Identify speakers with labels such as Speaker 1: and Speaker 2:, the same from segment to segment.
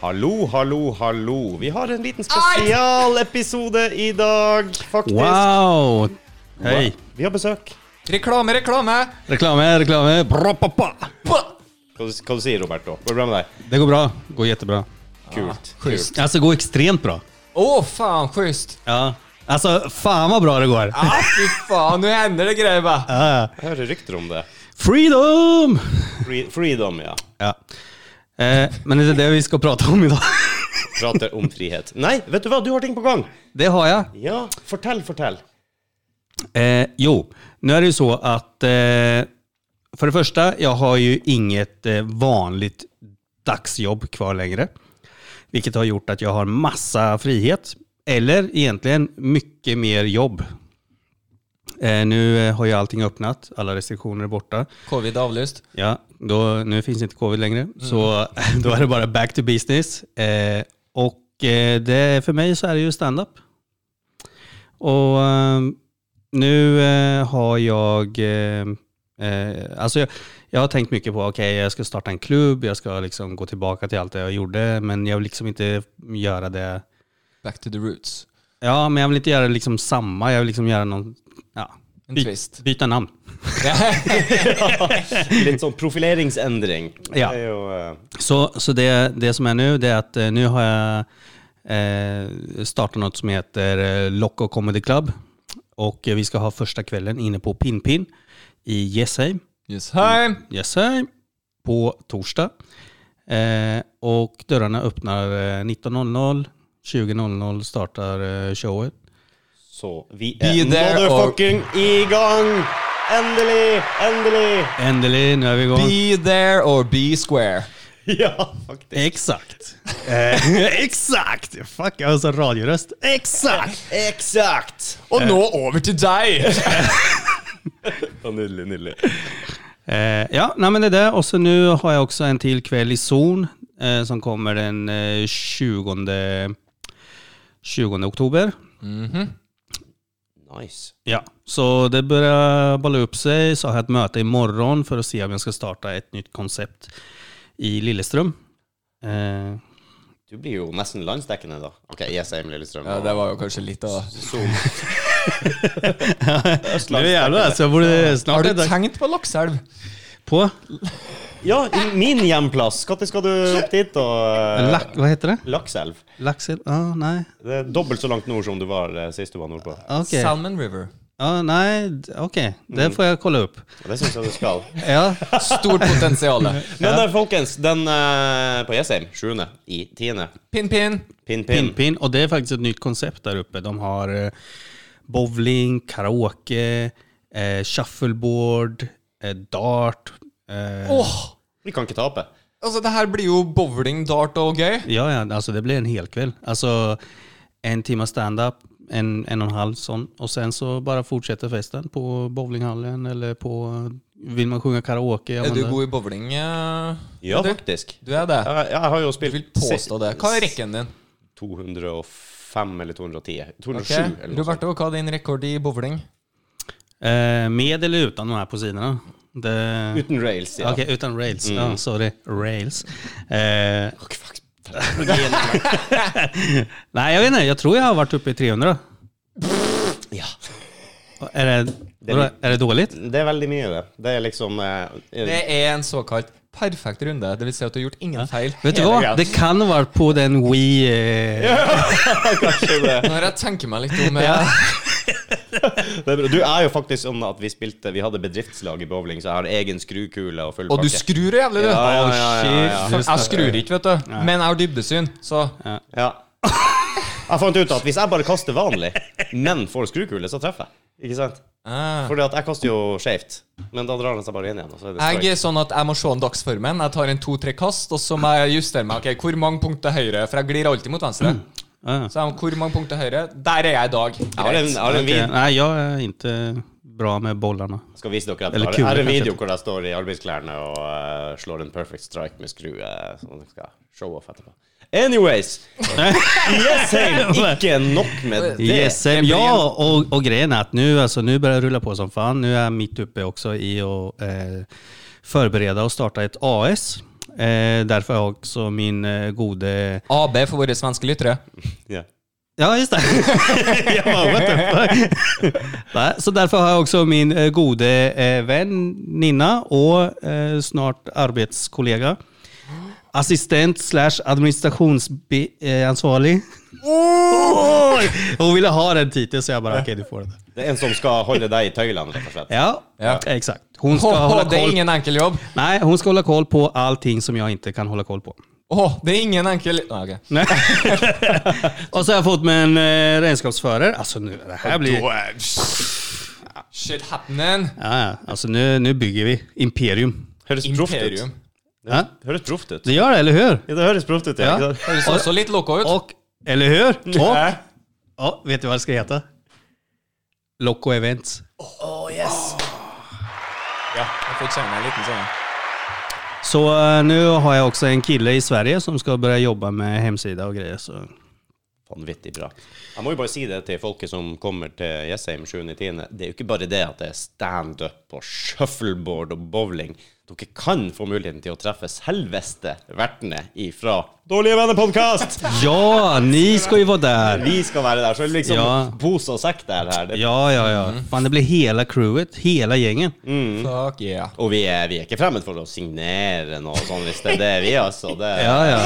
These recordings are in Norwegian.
Speaker 1: Hallo, hallo, hallo. Vi har en liten spesialepisode i dag, faktisk.
Speaker 2: Wow! Hei.
Speaker 1: Vi har besøk.
Speaker 3: Reklame, reklame!
Speaker 2: Reklame, reklame. Bra, pa, pa.
Speaker 1: Hva, du- hva du sier du, Roberto? Går det bra med deg?
Speaker 2: Det går bra. Går jättebra.
Speaker 1: Kult.
Speaker 3: schysst.
Speaker 1: kult.
Speaker 2: Alltså, det går extremt bra.
Speaker 3: Å, faen, schysst!
Speaker 2: Ja. Alltså, fan vad bra det går.
Speaker 3: Ja, fy faen, nå hender det greier, va?
Speaker 2: Ja.
Speaker 1: Jeg hører rykter om det.
Speaker 2: Freedom!
Speaker 1: Free, freedom, ja.
Speaker 2: Ja. Eh, men det är det vi ska prata om idag.
Speaker 1: Prater om frihet. Nei, vet du hva? Du har ting på gang.
Speaker 2: Det har jag.
Speaker 1: Ja, fortell, fortell.
Speaker 2: Eh, jo, nu är det ju så att eh, för det första, jag har ju inget eh, vanligt dagsjobb kvar längre. Vilket har gjort att jag har massa frihet. Eller egentligen mycket mer jobb. Eh, nu eh, har ju allting öppnat, alla restriktioner är borta.
Speaker 3: Covid avlyst.
Speaker 2: Ja, då, nu finns inte covid längre, så då är det bara back to business. Eh, och eh, det, för mig så är det ju stand-up. Och eh, nu eh, har jag... Eh, eh, alltså jag, jag har tänkt mycket på, okej jag ska starta en klubb, jag ska liksom gå tillbaka till allt det jag gjorde, men jag vill liksom inte göra det...
Speaker 3: Back to the roots.
Speaker 2: Ja, men jag vill inte göra liksom samma, jag vill liksom göra någon... Ja,
Speaker 3: En
Speaker 2: by-
Speaker 3: twist.
Speaker 2: byta namn.
Speaker 1: Litt sånn profileringsendring.
Speaker 2: Ja.
Speaker 1: Det er jo eh,
Speaker 2: Så, så det, det som är nu, det är att eh, nu har jag eh, startat något som heter eh, Loco Comedy Club. Och eh, vi ska ha första kvällen inne på Pinpin i Jessheim.
Speaker 3: Yes, hei!
Speaker 2: Jessheim på torsdag. Eh, och dörrarna öppnar eh, 19.00. 20.00 startar eh, showet.
Speaker 1: Så vi
Speaker 3: Be
Speaker 1: er
Speaker 3: there or-
Speaker 1: motherfucking i gang! Endelig! Endelig!
Speaker 2: Äntligen, nu är vi igång.
Speaker 3: Be there or be square.
Speaker 1: Ja, faktisk.
Speaker 2: Exakt. Eh, exakt! Fuck, jag har så radioröst. Exakt!
Speaker 1: Eksakt!
Speaker 3: Og
Speaker 2: Eh.
Speaker 3: nå over til deg!
Speaker 1: Ja, nydelig, nydelig.
Speaker 2: Eh, ja, nej, men det är det. Och så nu har jag också en till kväll i Zon eh, som kommer den eh, 20, 20 oktober.
Speaker 1: Nice.
Speaker 2: Ja, så det börjar balla upp sig. Så har jag ett möte imorgon för att se om jag ska starta ett nytt koncept i Lilleström. Eh,
Speaker 1: Du blir jo nesten landsdekkende, da. Ok, yes, Emil Lillestrøm.
Speaker 3: Ja, det var jo kanskje litt av
Speaker 1: Zoom.
Speaker 2: men det är jävlar alltså, jag borde snart
Speaker 3: Har du
Speaker 2: reda
Speaker 3: tenkt på Lakselv?
Speaker 2: på
Speaker 1: Ja, i min hjemplass. Når skal du opp dit? Og eh,
Speaker 2: lack, vad heter det?
Speaker 1: Lakselv.
Speaker 2: Laxel? Ja, nej.
Speaker 1: Det er dobbelt så langt nord som du var eh, sist du var nordpå.
Speaker 2: Okej,
Speaker 3: Salmon River.
Speaker 2: ja, nej, d- okej.
Speaker 3: Mm.
Speaker 2: Det får jag kolla upp.
Speaker 1: Og det syns jeg du skal.
Speaker 2: Ja,
Speaker 3: Stort potensial.
Speaker 1: Men der, folkens, den eh, på Jessheim, 7. i 10.
Speaker 3: Pin-pin.
Speaker 1: Pin-pin.
Speaker 2: Pinpin. Och det är faktiskt ett nytt koncept där uppe. De har eh, bowling, karaoke, eh, shuffleboard, eh, dart. Eh,
Speaker 3: Åh!
Speaker 1: Vi kan ikke tape.
Speaker 3: Altså, det her blir jo bowling, dart og gøy.
Speaker 2: Ja, ja, alltså det blir en hel kväll. Alltså en timme stand-up, en, en och en halv sån. Och sen så bara fortsätter festen på bowlinghallen eller på... Vill man sjunga karaoke? ja,
Speaker 3: Er
Speaker 2: men
Speaker 3: du
Speaker 2: det-
Speaker 3: god i bowling? eh,
Speaker 1: Ja,
Speaker 3: du?
Speaker 1: faktisk.
Speaker 3: Du er det?
Speaker 1: Jeg, jeg har jo
Speaker 3: Jeg vil
Speaker 1: spilt
Speaker 3: påstå det. Hva er rekken din?
Speaker 1: 205 eller 210. 207
Speaker 3: Ok.
Speaker 1: eller noe sånt.
Speaker 3: Roberto, hva er din rekord i bowling?
Speaker 2: Eh, med eller utan de här på sidorna? Det...
Speaker 1: Uten rails, ja.
Speaker 2: Okej, utan rails.
Speaker 3: Mm.
Speaker 2: Ja, sorry. Rails. Eh, Nej, jag vet inte. Jag tror jag har varit uppe i 300.
Speaker 1: ja.
Speaker 2: Är det, vadå, är det dåligt?
Speaker 1: Det er veldig mye, det. Det er liksom eh,
Speaker 3: Det er en såkalt perfekt runde. Det vil si at du har gjort ingen feil.
Speaker 2: Vet du
Speaker 3: hele
Speaker 2: vad?
Speaker 3: greia.
Speaker 2: Det kan ha varit på den Wii... Eh,
Speaker 1: Kanskje det.
Speaker 3: Når jeg tenker meg litt om eh,
Speaker 2: Ja.
Speaker 1: Det er bra. Du er jo faktisk sånn at vi spilte Vi hadde bedriftslag i bowling, så jeg har egen skrukule og full
Speaker 3: Og du
Speaker 1: pakke.
Speaker 3: skrur jo jævlig, du.
Speaker 1: Ja, ja, ja, ja, ja.
Speaker 3: For Jeg skrur ikke, vet du. Men jeg har dybdesyn, så
Speaker 1: Ja. Jeg fant ut at hvis jeg bare kaster vanlig, men får skrukule, så treffer jeg. Ikke sant?
Speaker 3: eh.
Speaker 1: Fordi at jeg kaster jo skjevt, men da drar den seg bare inn igjen. Og så er det
Speaker 3: Jeg
Speaker 1: strike.
Speaker 3: er sånn at jeg må se en dagsformen. Jeg tar en to-tre kast, og så må jeg justere meg. Ok, Hvor mange punkt til høyre? For jeg glir alltid mot venstre.
Speaker 2: ja.
Speaker 3: Så jeg må, hvor mange punkt til høyre? Der er jeg i dag.
Speaker 1: Mm. Jeg har en, jeg har en
Speaker 2: Okej,
Speaker 1: video.
Speaker 2: Nej, jag är inte bra med bollarna.
Speaker 1: Skal vise dere etterpå.
Speaker 2: Eller
Speaker 1: Jeg
Speaker 2: kule,
Speaker 1: har en
Speaker 2: kanskje.
Speaker 1: video hvor jeg eh, står i arbeidsklærne og eh, slår en perfect strike med skrue. Sånn at jeg skal show off etterpå. Anyways. Jessheim, ikke nok med det.
Speaker 2: Yes, eh, ja, och, och grejen är att nu, alltså, nu börjar det rulla på som fan. Nu är jag mitt uppe också i att eh, förbereda och starta ett AS. Eh, därför har jag också min eh, gode...
Speaker 3: AB for våre svenske lyttere.
Speaker 1: Ja.
Speaker 2: Ja, just det. jag bara, what the fuck? Nej, så därför har jag också min eh, gode eh, vän Nina och eh, snart arbetskollega. Assistent slash administrationsansvarig. Oh! Hon ville ha den titeln så jag bara, okej du får den.
Speaker 1: Det er en som skal holde deg i tøylene, rett og slett.
Speaker 2: Ja,
Speaker 3: Ja.
Speaker 2: exakt. Hon ska,
Speaker 3: Åh,
Speaker 2: hålla
Speaker 3: det er
Speaker 2: koll.
Speaker 3: ingen enkel jobb.
Speaker 2: Nej, hon ska hålla koll på allting som jag inte kan hålla koll på.
Speaker 3: Åh, det er ingen enkel ah, ok.
Speaker 2: Nej. och så har jag fått med en eh, renskapsförare. Alltså nu, det här blir...
Speaker 3: Shit happening.
Speaker 2: Ja, ja. Alltså nu, nu bygger vi imperium.
Speaker 1: Høres proft ut.
Speaker 3: Imperium.
Speaker 2: Ja.
Speaker 1: Høres proft ut.
Speaker 2: Det gör det, eller hur?
Speaker 1: Ja, det høres proft ut, ja.
Speaker 2: Ja.
Speaker 1: ikke sant?
Speaker 3: Høres også litt loco ut.
Speaker 2: Och, eller hur? Och,
Speaker 1: Hæ?
Speaker 2: ja, vet du vad det ska heta? Loco Events.
Speaker 3: Ja, jeg fortjener en liten sånn.
Speaker 2: Så eh, nu har jag också en kille i Sverige som ska börja jobba med hemsida och grejer. Så.
Speaker 1: Vanvittig bra. Jeg må jo bare si det til folket som kommer til Jessheim 7.10. Det er jo ikke bare det at det er standup og shuffleboard og bowling. Dere kan få muligheten til å treffe selveste vertene ifra Dårlige venner-podkast!
Speaker 2: Ja, ni ska ju vara där.
Speaker 1: Vi skal være der, så det er liksom
Speaker 2: Ja.
Speaker 1: pose og sekk der her. Det,
Speaker 2: Ja, ja, ja. Fan, det blir hela crewet, hela gängen.
Speaker 3: Fuck yeah.
Speaker 1: Og vi er, vi er ikke fremmed for å signere noe sånn hvis det er det vi, altså. Det,
Speaker 2: Ja, ja.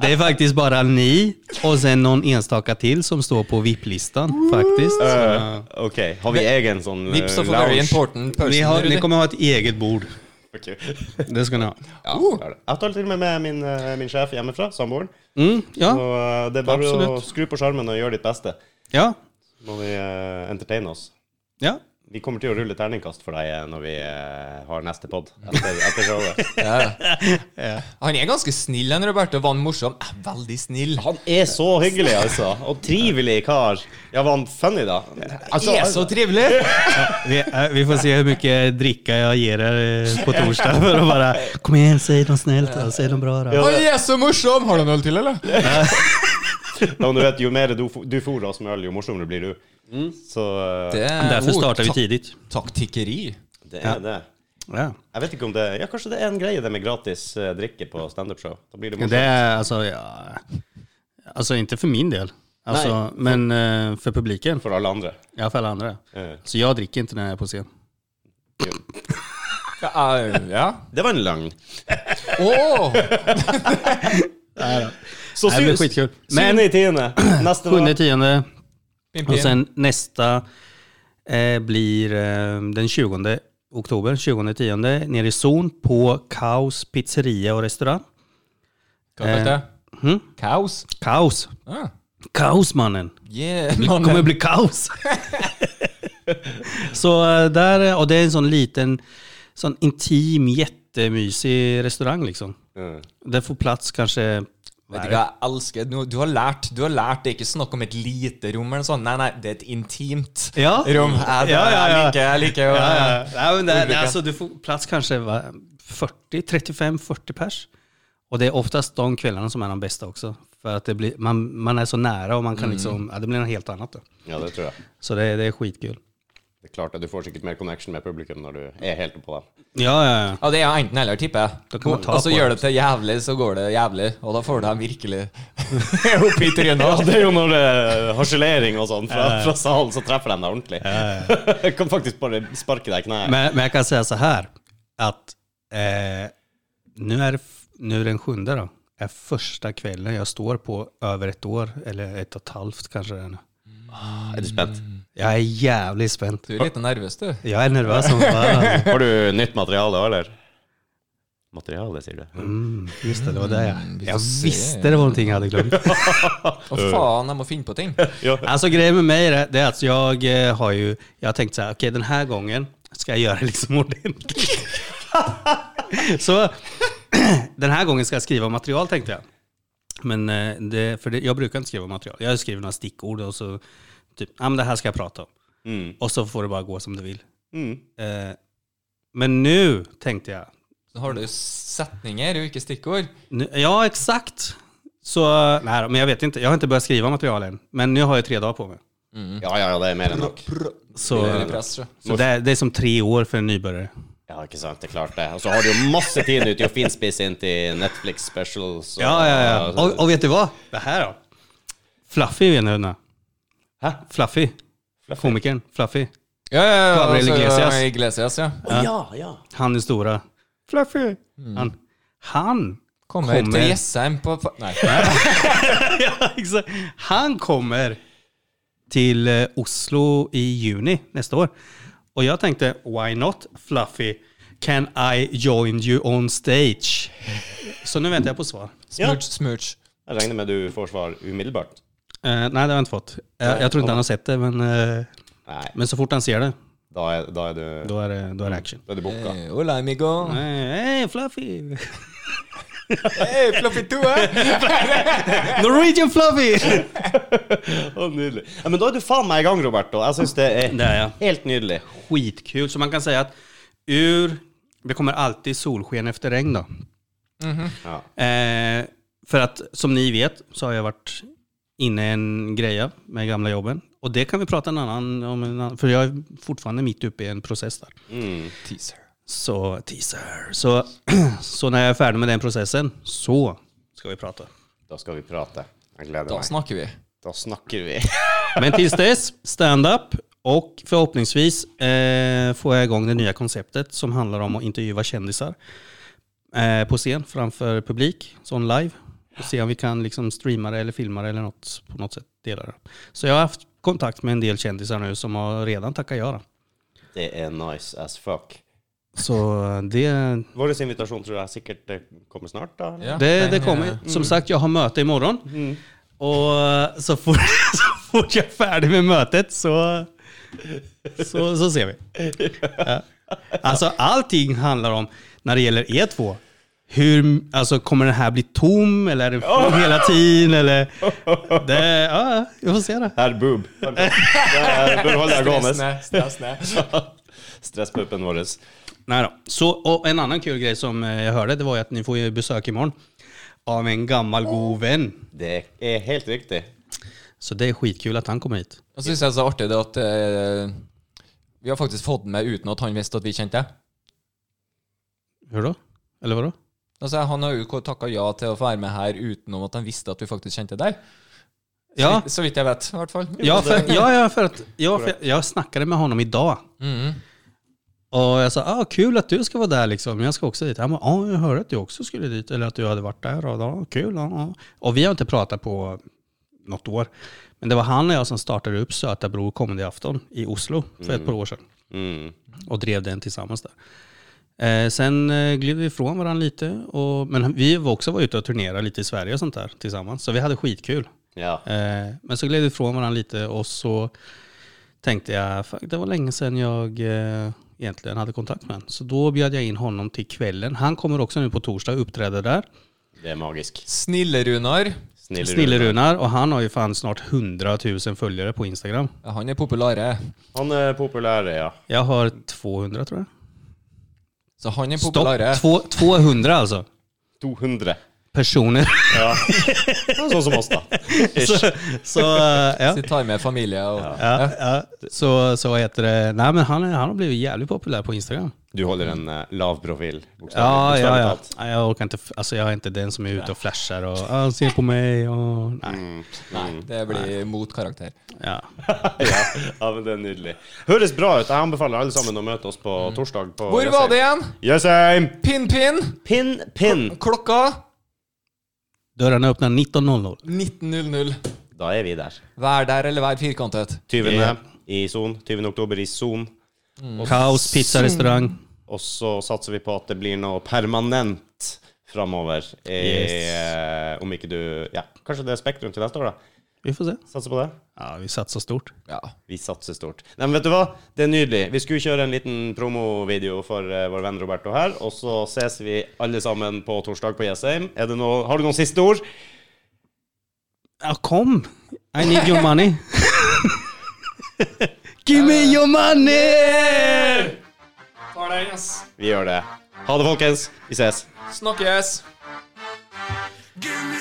Speaker 2: Det är faktiskt bara ni och sen någon enstaka till som står på VIP-listan faktiskt.
Speaker 1: Øh, ok, har vi egen sånn eh,
Speaker 3: Vips of a very important person.
Speaker 2: eh, Ni, har, ni
Speaker 3: Rudi.
Speaker 2: kommer ha ett eget bord.
Speaker 1: Ok.
Speaker 2: Det ska ni ha.
Speaker 3: Oh.
Speaker 1: Ja, Jeg tar til og med med min, eh, min sjef hjemmefra, samboeren.
Speaker 2: Mm,
Speaker 1: Så
Speaker 2: ja,
Speaker 1: eh, det er bare å
Speaker 2: Absolutt.
Speaker 1: skru på skjermen og gjøre ditt beste.
Speaker 2: ja,
Speaker 1: Så må vi eh, entertaine oss.
Speaker 2: ja.
Speaker 1: Vi kommer til å rulle terningkast for deg eh, når vi eh, har neste pod. Etter, etter showet.
Speaker 3: Han er ganske snill, han Roberto. Var han morsom? Eh, Veldig snill.
Speaker 1: Han er så hyggelig, altså. Og trivelig kar. Ja, var han funny, da? Alltså,
Speaker 3: Han er så trivelig!
Speaker 2: Vi, eh, vi får se hur mycket dricka jag ger er eh, på torsdag för att bara kom igen, säg något snällt, då, säg något bra. Då.
Speaker 1: Ja.
Speaker 3: Han er så morsom! Har du en øl til, eller?
Speaker 1: Ja, men du vet, jo mer du, fo- du fôrer oss med øl, jo morsommere blir du. Så eh,
Speaker 2: Därför
Speaker 3: oh,
Speaker 2: startar vi tidigt.
Speaker 3: Taktikkeri.
Speaker 1: det er det.
Speaker 2: Ja.
Speaker 1: Jeg vet ikke om det Ja, kanskje det er en greie, det med gratis eh, drikke på standup-show. Da blir det
Speaker 2: Det
Speaker 1: morsomt.
Speaker 2: är alltså, ja, alltså inte för min del, alltså, men eh, för publiken.
Speaker 1: For alle andre.
Speaker 2: I alla fall andra.
Speaker 1: Eh,
Speaker 2: Så jag dricker inte när jag är på scen.
Speaker 3: Ja. eh, ja.
Speaker 1: Det var en løgn.
Speaker 3: Åh!
Speaker 1: Så
Speaker 2: Det blir
Speaker 1: syns!
Speaker 2: skitkul. Men
Speaker 1: Syvende i tiende. Neste nå.
Speaker 2: 7 tionde
Speaker 3: Pim,
Speaker 2: och
Speaker 3: pim.
Speaker 2: sen nästa eh, blir eh, den 20 oktober, 20 tionde, nere i zon på Kaos pizzeria og restaurang.
Speaker 3: Hva kalte det?
Speaker 2: hm?
Speaker 3: Kaos?
Speaker 2: Kaos.
Speaker 3: Ah.
Speaker 2: Kaos mannen.
Speaker 3: Yeah,
Speaker 2: Det kommer bli kaos. så eh, där, och det är en sån liten, sån intim, jättemysig restaurang liksom.
Speaker 1: Mm.
Speaker 2: Det får plats kanske
Speaker 3: Vet du hva jeg elsker? Du, du har lært. Du har lært Det er ikke snakk om et lite rom, eller noe sånt. Nei, nei, det er et intimt
Speaker 2: Ja.
Speaker 3: rom. Jeg,
Speaker 2: Ja, ja, ja.
Speaker 3: jeg liker, jeg liker å
Speaker 2: Ja, ja. Nej, men det, det,
Speaker 3: Olika.
Speaker 2: alltså, du får plats kanske va, 40, 35-40 pers. Och det är oftast de kvällarna som är de bästa också. För att det blir, man, man är så nära och man kan liksom, ja, det blir något helt annat. Då.
Speaker 1: Ja, det tror jeg.
Speaker 2: Så det, det är skitkul.
Speaker 1: Det er klart at Du får sikkert mer connection med publikum når du er helt på dem.
Speaker 2: Ja, ja, ja.
Speaker 3: Ja, det er enten eller, tipper jeg.
Speaker 2: Da kan man ta
Speaker 3: og så
Speaker 2: på
Speaker 3: gjør det til jævlig, så går det jævlig. Og da får du dem virkelig opp i trynet.
Speaker 1: Det er jo når det er harselering og sånn fra, fra salen, så treffer de deg ordentlig. Jeg kan faktisk bare sparke deg i kneet.
Speaker 2: Men, men jag kan säga så här. Att eh, nu, är, det f- nu den sjunde då. Är första kvällen jag står på över ett år. Eller ett och ett halvt kanske det är nu.
Speaker 1: Er du spent?
Speaker 2: Jag är jävligt spänd.
Speaker 3: Du er litt nervøs, du.
Speaker 2: Jag är nervös som fan.
Speaker 1: Har du nytt materiale òg, eller? Materiale, sier du.
Speaker 2: Mm, just det, det var det ja.
Speaker 3: Mm, vi får
Speaker 2: Jag
Speaker 3: se.
Speaker 2: visste det var någonting jag hade glömt.
Speaker 3: Å, faen, jeg må finne på ting.
Speaker 2: Alltså grejen med mig är det- det är att jag eh, har ju, jag har tänkt så här, okej den här gången ska jag göra det liksom ordentligt. så den här gången ska jag skriva material tänkte jag. Men eh, det, för det, jag brukar inte skriva material. Jag skriver några stickord och så typ, ja men det här ska jag prata om.
Speaker 1: Mm.
Speaker 2: Och så får det bara gå som det vill.
Speaker 1: Mm.
Speaker 2: Eh, men nu tänkte jag,
Speaker 3: har du setninger og ikke stickord.
Speaker 2: Nu, ja, exakt. Så, nej då, men jag vet inte. Jag har inte börjat skriva material än. Men nu har jag tre dagar på mig.
Speaker 1: Ja, ja, ja, det er mer enn nok.
Speaker 2: Så,
Speaker 3: Det er i press, så.
Speaker 2: så det, är, det är som tre år för en nybörjare.
Speaker 1: Ja, ikke sant. Det er klart, det. Og så har du jo masse tid nå til å finspisse inn til Netflix specials. og-
Speaker 2: Ja, ja, ja.
Speaker 1: så-
Speaker 2: Och, och vet du vad? Det här då? Fluffy vet ni
Speaker 1: Hæ?
Speaker 2: Fluffy. Komikern Fluffy.
Speaker 3: Ja, ja, ja.
Speaker 2: Gabriel Iglesias.
Speaker 3: Iglesias ja.
Speaker 1: Å, ja, ja.
Speaker 2: Han är stora. Fluffy. Han. Han.
Speaker 3: Kommer,
Speaker 2: Kommer.
Speaker 3: til Jessheim på fa- Nei.
Speaker 2: ja, exakt. Han kommer till eh, Oslo i juni nästa år. Och jag tänkte, why not Fluffy? Can I join you on stage? Så nu väntar jag på svar. Eh,
Speaker 3: Smooch, smooch.
Speaker 1: Jeg regner med du får svar umiddelbart.
Speaker 2: Eh, nej, det har jag inte fått. Eh, jag tror inte han har sett det, men, eh,
Speaker 1: Nei,
Speaker 2: men så fort han ser det,
Speaker 1: da er, da er du,
Speaker 2: då är det, då är det action.
Speaker 1: da er du booka.
Speaker 3: Eh, Hola, amigo.
Speaker 2: Hey, hey Fluffy!
Speaker 3: Hey, fluffy eh. tue.
Speaker 2: Norwegian Fluffy!
Speaker 1: Å, nydelig. Ja, men da er du faen meg i gang, Roberto. Jeg syns det er
Speaker 2: Det är jag.
Speaker 1: helt nydelig.
Speaker 2: Skitkul, så man kan säga att ur, det kommer alltid solsken efter regn då.
Speaker 1: Ja.
Speaker 2: Eh, för att som ni vet så har jag varit inne i en greja med gamla jobben. Och det kan vi prata en annan om, en annan, för jag är fortfarande mitt uppe i en process där.
Speaker 1: Mm.
Speaker 3: Teaser.
Speaker 2: Så teaser. Så, så när jag är färdig med den processen så ska vi prata.
Speaker 1: Da skal vi prate. Jeg gleder
Speaker 3: Da
Speaker 1: meg.
Speaker 3: snakker vi.
Speaker 1: Da snakker vi.
Speaker 2: Men tills dess, stand-up och förhoppningsvis eh, får jag igång det nya konceptet som handlar om att intervjua kändisar eh, på scen framför publik, sån live. Och se om vi kan liksom streama det eller filma det eller något, på något sätt dela det. Så jag har haft kontakt med en del kändisar nu som har redan tackat ja. då.
Speaker 1: Det er nice as fuck.
Speaker 2: Så det,
Speaker 1: Vår invitasjon tror jeg sikkert eh, kommer snart, da. eller?
Speaker 3: Ja,
Speaker 2: det,
Speaker 3: den,
Speaker 2: det
Speaker 3: eh,
Speaker 2: kommer. Som sagt, jag har möte imorgon. Och eh, så fort, så fort jag är färdig med mötet så, så, så ser vi. Ja. Alltså allting handlar om, när det gäller er två, hur, alltså, kommer den här bli tom eller är den full hela tiden? Eller, det, ja, vi får se det.
Speaker 1: Herr Boob. Det er- Bør holde deg gående.
Speaker 3: Stressende, stressende.
Speaker 1: Stresspuppen vår.
Speaker 2: Nej då. Så, och en annan kul grej som eh, jag hörde, det var ju att ni får ju besök imorgon av en gammal god vän.
Speaker 1: Det er helt riktig.
Speaker 2: Så det är skitkul att han kommer hit.
Speaker 3: Og så syns jeg det er så artig det at eh, vi har faktisk fått den med uten at han visste at vi kjente det.
Speaker 2: Hur då? Eller vadå?
Speaker 3: Altså, han har jo takka ja til å få være med her utenom at han visste at vi faktisk kjente det der.
Speaker 2: Ja,
Speaker 3: Så vidt jeg vet, i hvert fall.
Speaker 2: Ja, för, ja, ja, för att ja, för jag snackade med honom idag.
Speaker 3: Mhm.
Speaker 2: Och jag sa, ah, kul att du ska vara där liksom. Jag ska också dit. Han bara, ja, jag hörde att du också skulle dit. Eller att du hade varit där. Och, ja, kul. Ja, ja. Och vi har inte pratat på något år. Men det var han och jag som startade upp Söta Bro comedyafton i Oslo för ett par år sedan.
Speaker 1: Mm.
Speaker 2: Och drev den tillsammans där. Eh, sen eh, gled vi ifrån varandra lite. Och, men vi var också var ute och turnerade lite i Sverige och sånt där tillsammans. Så vi hade skitkul.
Speaker 1: Ja.
Speaker 2: Eh, men så gled vi ifrån varandra lite och så tänkte jag, "Fuck, det var länge sedan jag eh, egentligen hade kontakt med honom. Så då bjöd jag in honom till kvällen. Han kommer också nu på torsdag och uppträder där.
Speaker 1: Det er magisk.
Speaker 3: Snille-Runar.
Speaker 1: Snille Rune.
Speaker 2: Snillerunar och han har ju fan snart 100 000 följare på Instagram.
Speaker 3: Ja, Han er populære.
Speaker 1: Han er populær, ja.
Speaker 2: Jag har 200 tror jag.
Speaker 3: Så han er
Speaker 2: Stopp,
Speaker 3: populære.
Speaker 2: två, 200 alltså.
Speaker 1: 200.
Speaker 2: Personer.
Speaker 1: Ja. Sånn som oss, da.
Speaker 2: så, så, eh, ja.
Speaker 3: Så tar med familie og
Speaker 2: Ja, ja. Så, så heter det, nej men han, är- han har blivit jävligt populär på Instagram.
Speaker 1: Du holder en eh, lav profil, bokstavelig
Speaker 2: Ja, ja,
Speaker 1: bokstavelig
Speaker 2: ja.
Speaker 1: talt.
Speaker 2: Nej, jag orkar inte. f- Alltså, jag är inte den som är ute och flashar och ah, se på mig och... Nej. Mm.
Speaker 3: Nei, det blir mot karakter.
Speaker 2: Ja.
Speaker 1: ja. ja, men det er nydelig. Høres bra ut. Jeg anbefaler alle sammen å møte oss på
Speaker 2: Mm.
Speaker 1: torsdag. På
Speaker 3: Hvor var det igjen?
Speaker 1: Jessheim!
Speaker 3: Pinn-pinn.
Speaker 1: Pinn, pinn!
Speaker 3: Klokka
Speaker 2: Dörrarna öppnar 19.00.
Speaker 3: 19.00.
Speaker 1: Da er vi der.
Speaker 3: Vær der eller vær firkantet.
Speaker 1: 20.
Speaker 2: Ja.
Speaker 1: i Son. 20. oktober i Son.
Speaker 2: Kaos, pizza, restaurang.
Speaker 1: Og så satser vi på at det blir noe permanent framover. Eh, om ikke du Ja, kanskje det er Spektrum til neste år, da.
Speaker 2: Vi får se.
Speaker 1: Satser på det.
Speaker 2: Ja, vi satsar stort.
Speaker 3: Ja.
Speaker 1: Vi satser stort. Nei, men vet du hva? Det er nydelig. Vi skulle kjøre en liten promovideo for eh, vår venn Roberto her, og så ses vi alle sammen på torsdag på Jessheim. Er det noe, har du noen siste ord?
Speaker 2: Ja, kom! I need your money. Give me your money!
Speaker 3: Tar den, ass.
Speaker 1: Vi gjør det. Ha det, folkens. Vi ses.
Speaker 3: Snakkes!
Speaker 4: Give me